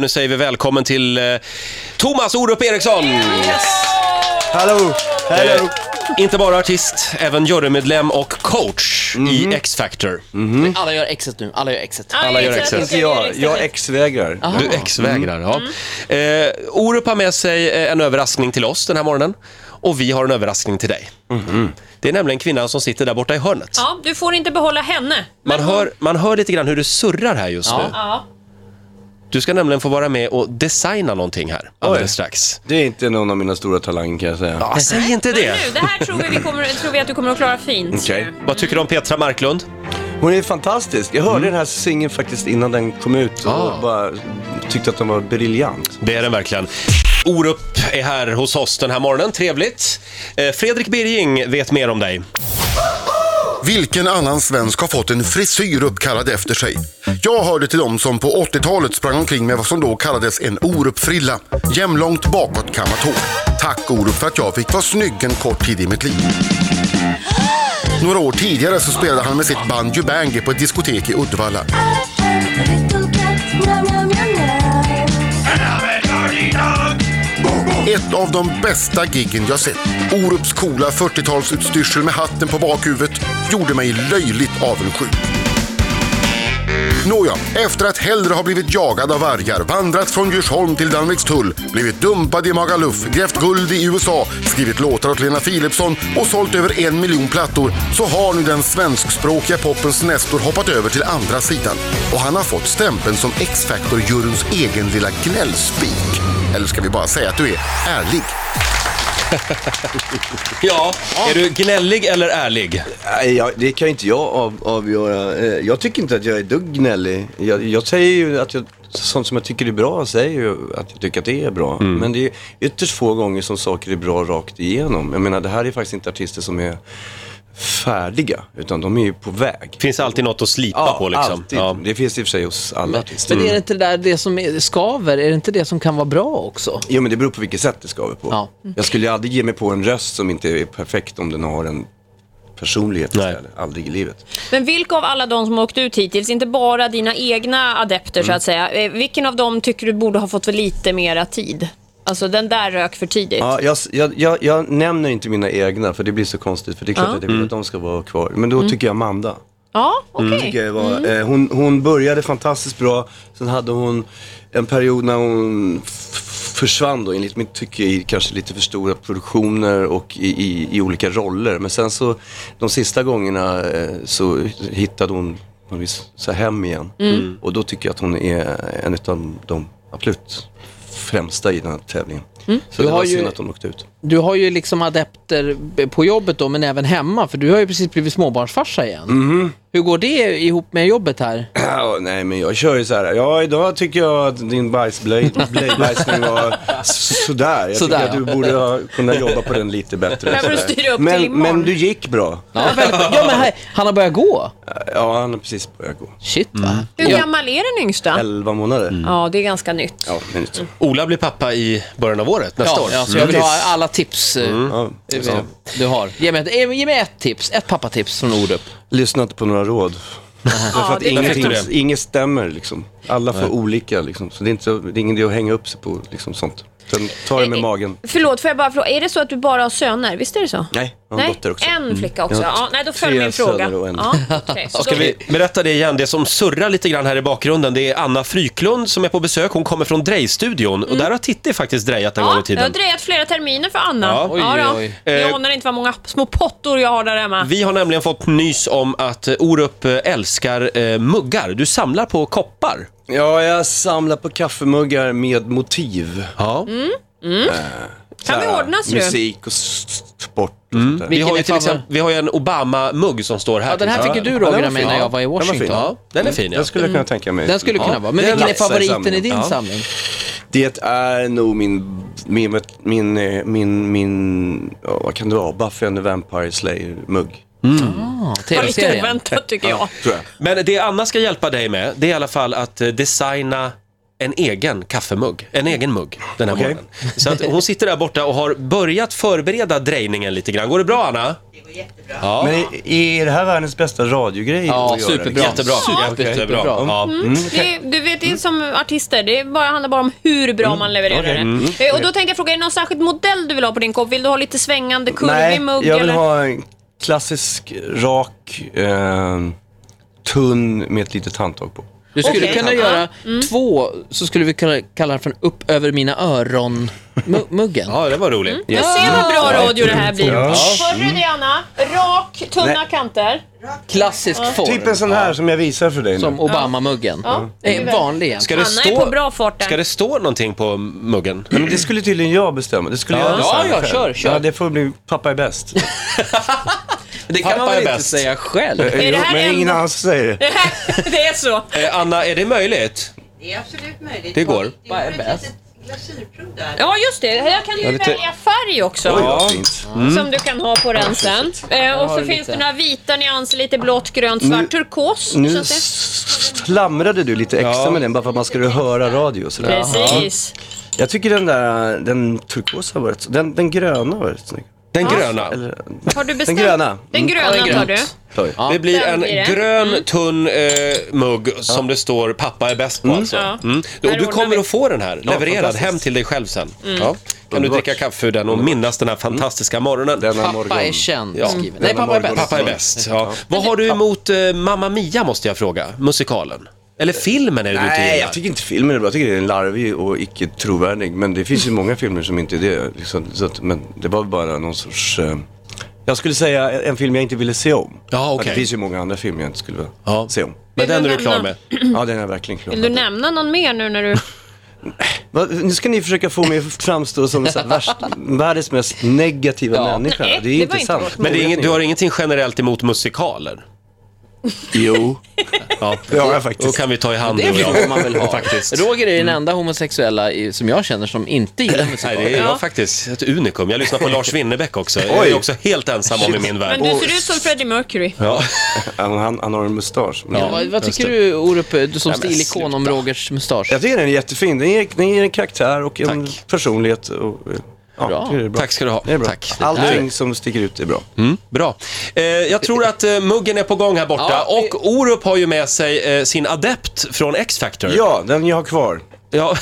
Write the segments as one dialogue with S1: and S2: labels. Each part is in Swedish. S1: nu säger vi välkommen till eh, Thomas Orup Eriksson!
S2: Hallå!
S1: Eh, inte bara artist, även jurymedlem och coach
S3: Mm.
S1: i X-Factor. Mm.
S4: Alla gör exet nu, alla gör exet.
S1: Alla gör exet.
S2: Inte jag, jag ex-vägrar.
S3: Ah.
S1: Du ex-vägrar, ja.
S3: Mm.
S1: Eh, Orup har med sig eh, en överraskning till oss den här morgonen. Och vi har en överraskning till dig. Det är nämligen kvinnan som sitter där borta i hörnet.
S3: Mm-hmm. Ja, du får inte behålla henne.
S1: Man hör, man hör lite grann hur det surrar här just
S4: Ja.
S1: nu.
S3: Ja.
S1: Du ska nämligen få vara med och designa någonting här alldeles strax.
S2: Det är inte någon av mina stora talanger kan jag säga.
S1: Ah, säg inte
S3: Men
S1: det!
S3: nu, det här tror vi, vi kommer, tror vi att du kommer att klara fint.
S2: Okej.
S1: Vad tycker du om Petra Marklund?
S2: Hon är fantastisk. Jag hörde den här singeln faktiskt innan den kom ut och
S1: Ah.
S2: bara tyckte att den var briljant.
S1: Det är den verkligen. Orup är här hos oss den här morgonen, trevligt. Eh, Fredrik Birging vet mer om dig.
S5: Vilken annan svensk har fått en frisyr uppkallad efter sig? Jag hörde till dem som på 80-talet sprang omkring med vad som då kallades en Orup-frilla. Jämlångt bakåtkammat hår. Tack Orup för att jag fick vara snygg en kort tid i mitt liv. Några år tidigare så spelade han med sitt band Jubangi på ett diskotek i Uddevalla. Ett av de bästa giggen jag sett. Orups coola 40-talsutstyrsel med hatten på bakhuvudet gjorde mig löjligt avundsjuk. Nåja, efter att hellre ha blivit jagad av vargar, vandrat från Djursholm till Danvikstull, blivit dumpad i Magaluf, grävt guld i USA, skrivit låtar åt Lena Philipsson och sålt över en miljon plattor så har nu den svenskspråkiga popens Nestor hoppat över till andra sidan. Och han har fått stämpeln som X-Factor-juryns egen lilla gnällspik. Eller ska vi bara säga att du är ärlig?
S1: Ja, är du gnällig eller ärlig?
S2: Nej, jag, det kan ju inte jag av, avgöra. Eh, Jag tycker inte att jag är dugg gnällig. Jag, jag säger ju att jag, sånt som jag tycker är bra säger ju att jag tycker att det är bra. Men det är ytterst få gånger som saker är bra rakt igenom. Jag menar, det här är faktiskt inte artister som är färdiga, utan de är ju på väg.
S1: Finns alltid något att slipa på liksom.
S2: alltid.
S1: Ja. Mm.
S2: Det finns i och för sig hos alla artister.
S4: Men är det inte det där det som är, skaver, är det inte det som kan vara bra också?
S2: Jo, men det beror på vilket sätt det skaver på.
S4: Ja.
S2: Jag skulle ju aldrig ge mig på en röst som inte är perfekt om den har en personlighet
S1: Nej.
S2: istället. Aldrig i livet.
S3: Men vilka av alla de som har åkt ut hittills, inte bara dina egna adepter
S2: Mm.
S3: så att säga, eh, vilken av dem tycker du borde ha fått lite mera tid? Alltså den där rök för tidigt.
S2: Ja, jag, jag, jag, jag nämner inte mina egna för det blir så konstigt för det är klart att jag
S1: Mm.
S2: vill att de ska vara kvar. Men då tycker jag Amanda.
S3: Ja, okej.
S2: Tycker Mm. jag var, eh, hon, hon började fantastiskt bra, sen hade hon en period när hon f- försvann då enligt mitt tycke i kanske lite för stora produktioner och i, i, i olika roller. Men sen så de sista gångerna eh, så hittade hon på något vis så här hem igen.
S4: Mm.
S2: Och då tycker jag att hon är en av de absolut främsta i den här tävlingen. Så
S4: Du
S2: det
S4: har
S2: var
S4: ju-
S2: synd att hon åkte ut.
S4: Du har ju liksom adepter b- på jobbet då, men även hemma, för du har ju precis blivit småbarnsfarsa igen. Hur går det ihop med jobbet här?
S2: Ja, nej men jag kör ju så här. ja idag tycker jag att din bajsblöj- blöjbajsning var s- sådär. Jag
S4: Sådär,
S2: tycker att du borde ha kunnat jobba på den lite bättre.
S3: Behöver du
S2: Sådär.
S3: styra upp till
S2: men,
S3: imorgon?
S2: Men du gick bra.
S4: Ja, väldigt, ja men här, han har börjat gå.
S2: Ja, han har precis börjat gå.
S4: Shit va?
S3: Hur
S4: Mm. Ja.
S3: gammal är den yngsta?
S2: 11 månader.
S3: Ja, det är ganska nytt.
S2: Ja, men inte så.
S3: Mm.
S1: Ola blir pappa i början av året, nästa
S4: Ja,
S1: år. Mm.
S4: ja, så jag vill ha alla tips eh,
S2: Ja, så.
S4: eh, du har. Ge mig, ett, eh, ge mig ett tips, ett pappatips från Orup.
S2: Lyssna inte på några råd. Därför att
S3: det är
S2: ingenting,
S1: klart.
S2: inget stämmer liksom. Alla får olika liksom. Så det är, inte, så- det är ingen idé att hänga upp sig på liksom sånt. Utan ta det med magen.
S3: Förlåt, får jag bara fråga, är det så att du bara har söner? Visst är det så?
S2: Nej, jag har en
S3: Nej,
S2: dotter också. Mm.
S3: en flicka också.
S2: Jag har
S3: Ja, nej, då
S2: tre
S3: följer min fråga.
S2: söner och en-
S3: Ja, okej. Så
S1: Ska
S3: då-
S1: vi berätta det igen? Det som surrar lite grann här i bakgrunden, det är Anna Fryklund som är på besök. Hon kommer från Drej-studion och där har Titti faktiskt drejat en gång
S3: Ja,
S1: i
S3: det har
S1: tiden.
S3: drejat flera terminer för Anna.
S1: Ja.
S3: Ja.
S1: Oj,
S3: då.
S4: oj.
S1: Eh,
S3: Jag anar inte vad många små pottor jag har där hemma.
S1: Vi har nämligen fått nys om att eh, Orup eh, älskar eh, muggar. Du samlar på koppar.
S2: Ja, jag samlar på kaffemuggar med motiv.
S1: Ja.
S3: Kan vi
S2: Så här,
S3: ordna, ser du?
S2: Musik och s- s- sport och sånt där.
S1: Vi
S4: Vilken
S1: har, ju
S4: är
S1: till
S4: favorit?
S1: exempel, vi har ju en Obama-mugg som står här.
S4: Ja, den
S1: till
S4: här fick ju du
S1: exempel.
S4: Roger
S2: var
S4: av mig
S2: fin.
S4: när jag var i
S2: Den var fin.
S4: Washington.
S1: Ja, den är fin ja.
S2: Den skulle Mm. jag kunna tänka mig.
S4: Mm. Den skulle kunna vara. Men
S2: Den
S4: vilken är
S2: platsar i
S4: favoriten i
S2: samlingen.
S4: din
S1: Ja.
S4: samling?
S2: Det är nog min, min, min, eh, min, min ja, vad kan det vara? Buffy and the Vampire Slayer-mugg.
S4: Ja,
S3: Det var lite
S4: TV-serien.
S3: oväntat tycker jag.
S2: Tror jag.
S1: Men det Anna ska hjälpa dig med, det är i alla fall att eh, designa en egen kaffemugg, en egen mugg den här
S2: Okej.
S1: morgonen. Så att hon sitter där borta och har börjat förbereda drejningen lite grann. Går det bra Anna?
S2: Men är, är det här världens bästa radiogrej?
S4: Ja,
S2: att göra,
S4: superbra.
S2: liksom?
S1: Jättebra.
S4: Super,
S1: Jättebra.
S4: superbra.
S1: Ja. Mm.
S2: Mm,
S3: Det, du vet, det är som artister, det är bara, handlar bara om hur bra man levererar
S2: Mm. Okej.
S3: det. Eh, Och då tänkte jag fråga, är det någon särskild modell du vill ha på din kopp? Vill du ha lite svängande kurvig
S2: Nej,
S3: mugg?
S2: jag vill
S3: eller?
S2: ha en klassisk, rak, eh, tunn med ett litet handtag på.
S4: Du skulle
S3: Okej.
S4: kunna
S3: Ja. Mm.
S4: göra två, så skulle vi kunna kalla det för en upp över mina öron-muggen.
S1: ja, det var roligt.
S3: Men se vad bra radio det här blir.
S2: Ja. Mm.
S3: Hörde du det Anna? Rak, tunna
S2: Nej.
S3: kanter.
S4: Klassisk form.
S2: Typ en sån här som jag visar för dig nu.
S4: Som Obama-muggen.
S3: Ja.
S2: Mm.
S4: Det är vanlig igen.
S1: Eh, Ska det
S3: Anna är på
S1: stå,
S3: bra fart där.
S1: ska det stå någonting på muggen?
S2: Men det skulle tydligen jag bestämma. Det skulle
S1: Ja.
S2: jag
S4: Ja,
S2: bestämma
S4: ja,
S2: själv.
S4: kör, kör.
S2: Ja, det får bli pappa är bäst.
S4: Det kan
S1: Pappa
S4: man väl
S1: är
S4: inte
S1: bäst.
S4: säga själv?
S3: det
S2: Jo,
S3: här
S2: men ingen
S3: ändå-
S2: annan som säger det.
S3: det är så.
S1: Eh, Anna, är det möjligt?
S6: Det är absolut möjligt.
S1: Det går.
S6: Vi har
S4: Vad är
S6: ett
S4: bäst?
S6: litet glasyrprov där.
S3: Ja, just det. Jag kan ju
S2: lite-
S3: välja färg också.
S2: Oj, vad fint.
S3: Som du kan ha på den sen. Eh,
S4: har
S3: och så
S4: du
S3: finns
S4: lite.
S3: det några vita nyanser, lite blått, grönt, svart,
S2: Nu-
S3: turkos.
S2: Nu
S3: så att det...
S2: s- slamrade du lite extra
S1: Ja.
S2: med den bara för att man skulle höra radio och sådär.
S3: Precis.
S2: Jag tycker den där, den turkosa var rätt, den, den gröna var rätt snygg.
S1: Den gröna.
S2: Eller,
S3: Har du bestämt?
S2: gröna.
S3: Den
S2: Mm.
S3: gröna tar du.
S2: sorry.
S1: Det blir
S3: Den
S1: en
S3: blir det. Mm.
S1: grön tunn eh, mugg som det står pappa är bäst på alltså.
S3: Ja.
S1: Mm.
S3: Där
S1: Och du
S3: ordnar
S1: kommer
S3: vi. Mm.
S1: att få den här levererad
S2: fantastiskt.
S1: hem till dig själv sen. Ja. Kan du
S2: Underbart.
S1: dricka kaffe ur den och minnas den här fantastiska morgonen.
S2: Denna morgon.
S4: Pappa är känd,
S1: Ja.
S4: skriven.
S2: Denna
S4: Nej, pappa är
S2: morgon.
S4: bäst.
S1: Pappa är bäst. Ja. Vad har du emot eh, Mamma Mia måste jag fråga, musikalen? Eller filmen är det du inte
S2: Nej,
S1: gillar?
S2: jag tycker inte filmen är bra. Jag tycker den är larvig och icke trovärdig. Men det finns ju många filmer som inte är det. Liksom, så att, men det var väl bara någon sorts... Eh, jag skulle säga en film jag inte ville se om.
S1: Ja,
S2: Men
S1: okej.
S2: Det finns ju många andra filmer jag inte skulle vilja
S1: Ja.
S2: se om.
S1: Men
S3: Vill
S1: den är
S3: du
S1: du klar
S3: nämna?
S1: med.
S2: Ja, den är verkligen klar.
S3: Vill du nämna någon mer nu när du...
S2: Va, nu ska ni försöka få mig att framstå som så här värst, världens mest negativa
S4: Ja.
S2: människa.
S3: Nej,
S2: det
S3: det
S2: är
S3: var
S2: inte
S3: inte
S2: sant.
S3: vårt
S1: Men det är ingen, du har ingenting generellt emot musikaler?
S2: Jo,
S1: Ja.
S2: det har jag
S1: Då
S2: faktiskt.
S1: kan vi ta i hand
S4: Det
S1: du och jag.
S4: är man vill ha.
S1: Faktiskt. Mm.
S4: Roger är den enda homosexuella i- som jag känner som inte gillar
S1: Nej,
S4: musikaler.
S1: det är jag faktiskt. Ett unikum. Jag lyssnar på Lars Winnerbäck också. Jag är
S2: Oj.
S1: också helt ensam om i min värld.
S3: Men du ser ut som Freddie Mercury.
S1: Ja.
S2: Han, han, han har en mustasch. men-
S4: Ja, vad, vad
S1: just
S4: tycker
S1: det.
S4: du, Orup, du som
S1: Nej, men
S4: stilikon om
S1: sluta.
S4: Rogers mustasch?
S2: Jag tycker den är jättefin. Den ger, den ger en karaktär och en personlighet. Och, eh, ja,
S4: Bra.
S2: jag tycker det är bra.
S1: Tack ska du ha.
S2: Det är bra.
S1: Tack.
S2: Allting som sticker ut är bra.
S1: Mm, bra. Eh, jag tror att eh, muggen är på gång här borta.
S4: Ja, vi-
S1: Och Orup har ju med sig eh, sin adept från X-Factor.
S2: Ja, den jag har kvar.
S1: Ja,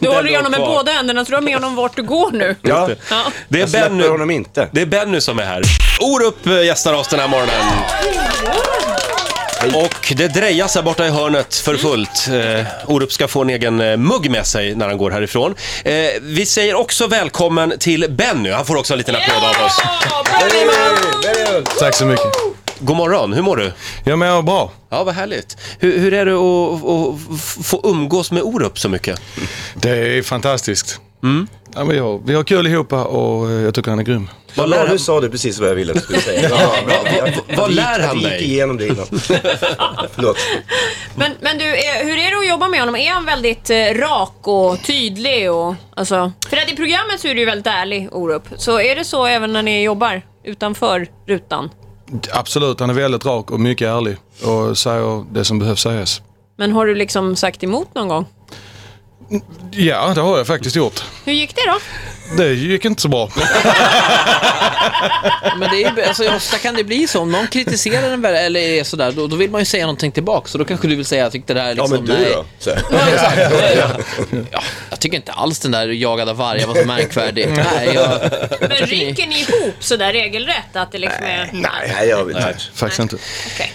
S3: Du
S1: den
S3: håller i
S1: låg
S3: honom med
S1: kvar.
S3: båda händerna, så du har med honom vart du går nu.
S2: Ja.
S3: Ja.
S1: Det är
S2: Jag släpper
S1: Ben nu.
S2: honom inte.
S1: Det är Benny som är här. Orup eh, gästar oss den här morgonen. Och det drejas här borta i hörnet för
S3: Mm.
S1: fullt. Eh, Orup ska få en egen eh, mugg med sig när han går härifrån. Eh, vi säger också välkommen till Benny. Han får också en liten applåd av oss.
S7: Tack så mycket.
S1: God morgon, hur mår du?
S7: Jag mår bra.
S1: Ja, vad härligt. Hur, hur är det att, att f- få umgås med Orup så mycket?
S7: Det är fantastiskt.
S2: Mm.
S7: Ja, men vi, har, vi har kul ihop och eh, jag tycker han är grym.
S1: Vad
S2: Ja,
S1: lär han,
S2: nu sa du precis vad jag ville att du skulle säga. Ja, bra. Jag-
S1: vad lär han
S2: Jag gick
S1: dig?
S2: igenom det innan. Förlåt.
S3: Men, men du, eh, hur är det att jobba med honom? Är han väldigt eh, rak och tydlig? Och, alltså, för att i programmet så är du ju väldigt ärlig, Orup. Så är det så även när ni jobbar utanför rutan?
S7: Absolut, han är väldigt rak och mycket ärlig och säger det som behövs sägas.
S3: Men har du liksom sagt emot någon gång?
S7: Ja, det har jag faktiskt gjort.
S3: Hur gick det då?
S7: Det gick inte så bra.
S4: Men det är, ju- alltså, ofta kan det bli så. Om någon kritiserar en väl- eller är sådär, då, då vill man ju säga någonting tillbaka. Så då kanske du vill säga, jag tyckte det där är liksom, nej.
S2: Så här.
S4: Ja, exakt. Ja, jag tycker inte alls den där jagade av vargar var så märkvärdig. Nej, jag...
S3: Men ryker ni ihop sådär regelrätt? Att det liksom är...
S2: Nej, jag vet inte.
S7: Faktiskt inte.
S3: Okej.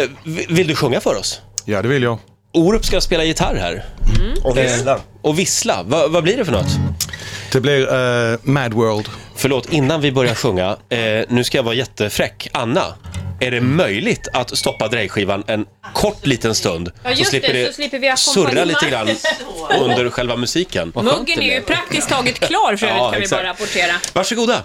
S1: Eh, vi- vill du sjunga för oss?
S7: Ja, det vill jag.
S1: Orup ska spela gitarr här
S2: Och vissla.
S1: och vissla. Va, vad blir det för något?
S7: Det blir eh, Mad World.
S1: Förlåt, innan vi börjar sjunga, eh, nu ska jag vara jättefräck. Anna, är det möjligt att stoppa drejskivan en kort liten stund?
S3: Ja, just det, så slipper vi
S1: surra lite grann
S3: ackompanjemanget.
S1: under själva musiken.
S3: Muggen är ju praktiskt taget klar för övrigt
S1: Ja,
S3: kan
S1: exakt.
S3: vi bara rapportera.
S1: Varsågoda.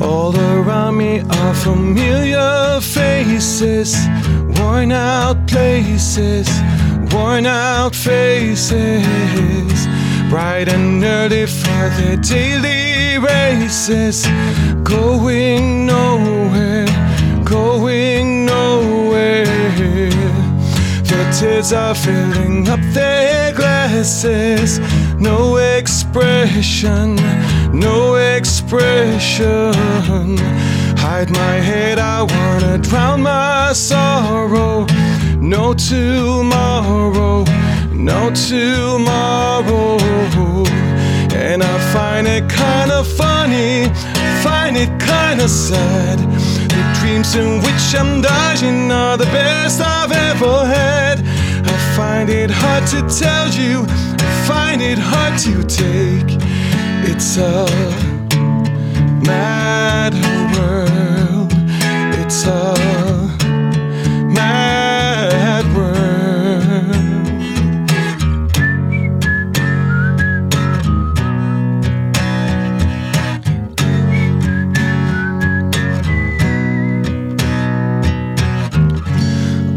S7: All around me are familiar faces, worn out places, worn out faces. bright and early for their daily races. Going nowhere, going nowhere. Their tears are filling up their glasses. No expression, no expression. Hide my head, I wanna drown my sorrow. No tomorrow, no tomorrow. And I find it kinda funny, find it kinda sad. The dreams in which I'm dying are the best I've ever had. I find it hard to tell you, I find it hard to take. It's a mad world. It's a mad world.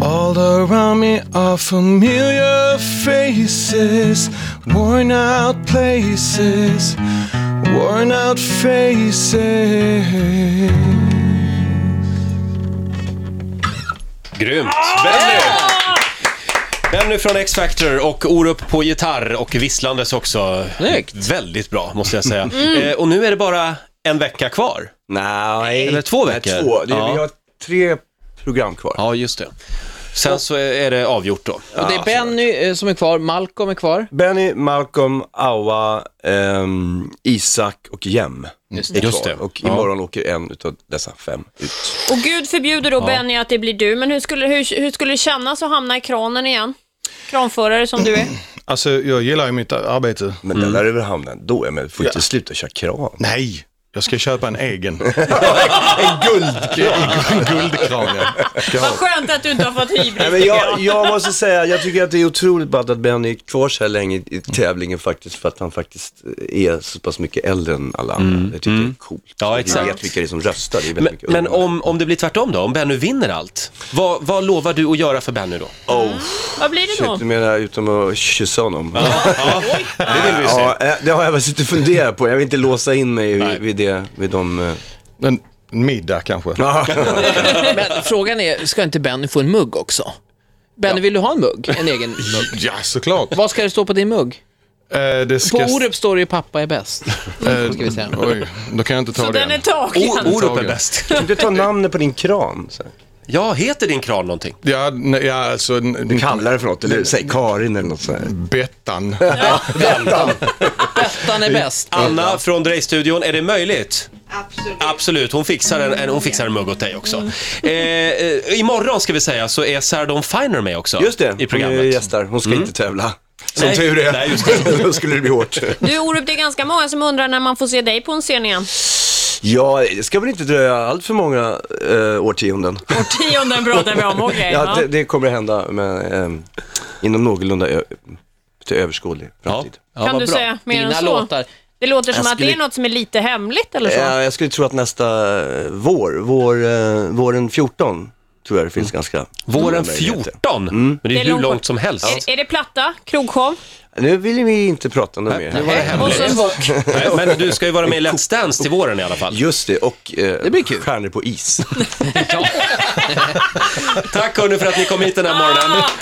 S7: All around me are familiar faces, worn out places, worn out faces.
S1: Grymt! Benny! Benny från X-Factor och Orup på gitarr och visslandes också.
S4: Snyggt.
S1: Väldigt bra, måste jag säga. Eh, och nu är det bara en vecka kvar.
S2: Nej.
S1: Eller två veckor.
S2: Nej, två. Det,
S1: Ja.
S2: Vi har tre program kvar.
S1: Ja, just det. Sen så är det avgjort då.
S4: Och det är Benny eh, som är kvar, Malcolm är kvar.
S2: Benny, Malcolm, Awa, ehm, Isak och Jem. Just det.
S1: Mm. Just det.
S2: Och
S1: Ja.
S2: imorgon åker en utav dessa fem ut.
S3: Och gud förbjuder då Benny att det blir du, men hur skulle, hur, hur skulle det kännas att hamna i kranen igen? Kranförare som du är.
S7: Alltså, jag gillar ju mitt arbete.
S2: Men
S1: Mm.
S2: den där över hamnen, då är man, får inte sluta köra kran.
S7: Nej, jag ska köpa en egen.
S2: En guldkran.
S7: En guldkran, ja. Ska jag
S3: Vad
S7: ha.
S3: skönt att du inte har fått hybris.
S2: Nej, men jag, jag måste säga, jag tycker att det är otroligt ballt att Benny är kvar så här länge i i tävlingen faktiskt, för att han faktiskt eh, är så pass mycket äldre än alla andra. Jag tycker det är coolt.
S1: Mm. Ja, exakt.
S2: Vi vet vilka det är som röstar, det är väldigt
S1: Men,
S2: mycket
S1: men
S2: ungdomar.
S1: om, om det blir tvärtom då, om Benny vinner allt, vad, vad lovar du att göra för Benny då?
S3: Vad blir det då?
S2: Shit, du menar utom att kyssa honom?
S1: Ja, det vill vi ju se.
S2: Ja, eh, det har jag väl suttit och funderat på. Jag vill inte låsa in mig
S1: Nej.
S2: vid, vid, det, vid de... eh,
S7: En middag kanske.
S4: Men frågan är, ska inte Benny få en mugg också? Benny, vill du ha en mugg? En egen mugg?
S7: Ja, såklart.
S4: Vad ska det stå på din mugg?
S7: Eh, det
S4: På
S7: ska...
S4: Orup står det ju pappa är bäst.
S7: eh,
S4: ska vi säga.
S7: Oj, då kan jag inte ta
S3: Så
S7: den.
S3: den är tagen.
S1: O- Orup är bäst.
S2: Kan du ta namnet på din kran? Så. här?
S1: Ja, heter din kran någonting?
S7: Ja, nej, ja, alltså... n-
S2: Du kallar det för något, eller säg Karin eller något sånt.
S7: Bettan.
S4: Bettan är bäst.
S1: Anna från Drejstudion, är det möjligt?
S6: Absolut.
S1: Absolut, hon fixar en, en, hon fixar en mugg åt dig också. Eh, eh, imorgon ska vi säga så är Sarah Dawn Finer med också
S2: Just det,
S1: i
S2: hon är
S1: programmet. Mm.
S2: gästar. Hon ska inte tävla. Som
S1: Nej.
S2: tur är.
S1: Nej, just
S2: Då skulle det bli hårt.
S3: Du Orup, det är ganska många som undrar när man får se dig på en scen igen.
S2: Ja, det ska väl inte dröja allt för många eh, årtionden.
S3: Tionden pratar vi om, okej.
S2: Ja,
S3: ja.
S2: det, det kommer att hända men, eh, inom någorlunda ö- till överskådlig
S1: Ja.
S2: framtid.
S1: Ja,
S3: Kan
S1: vad
S3: du
S1: bra.
S3: säga mer än
S4: Dina
S3: så?
S4: låtar.
S3: Det låter som
S2: Jag
S3: att det är
S2: skulle-
S3: något som är lite hemligt eller så.
S2: Ja, Eh, jag skulle tro att nästa eh, vår, vår eh, våren 14, tror jag det finns ganska
S1: Våren
S2: stora möjligheter.
S1: 14,
S2: Mm.
S1: men det är
S3: Det är
S1: hur långt
S3: långt.
S1: som helst.
S3: Är, är det platta, krogshow?
S2: Nu vill vi inte prata något mer.
S1: var det hemligt.
S3: Och så en bock.
S1: Nej, Men du ska ju vara med i Let's Dance till våren i alla fall.
S2: Just det, och eh,
S4: blir kul.
S2: stjärnor på is.
S1: Tack hörni för att ni kom hit den här morgonen.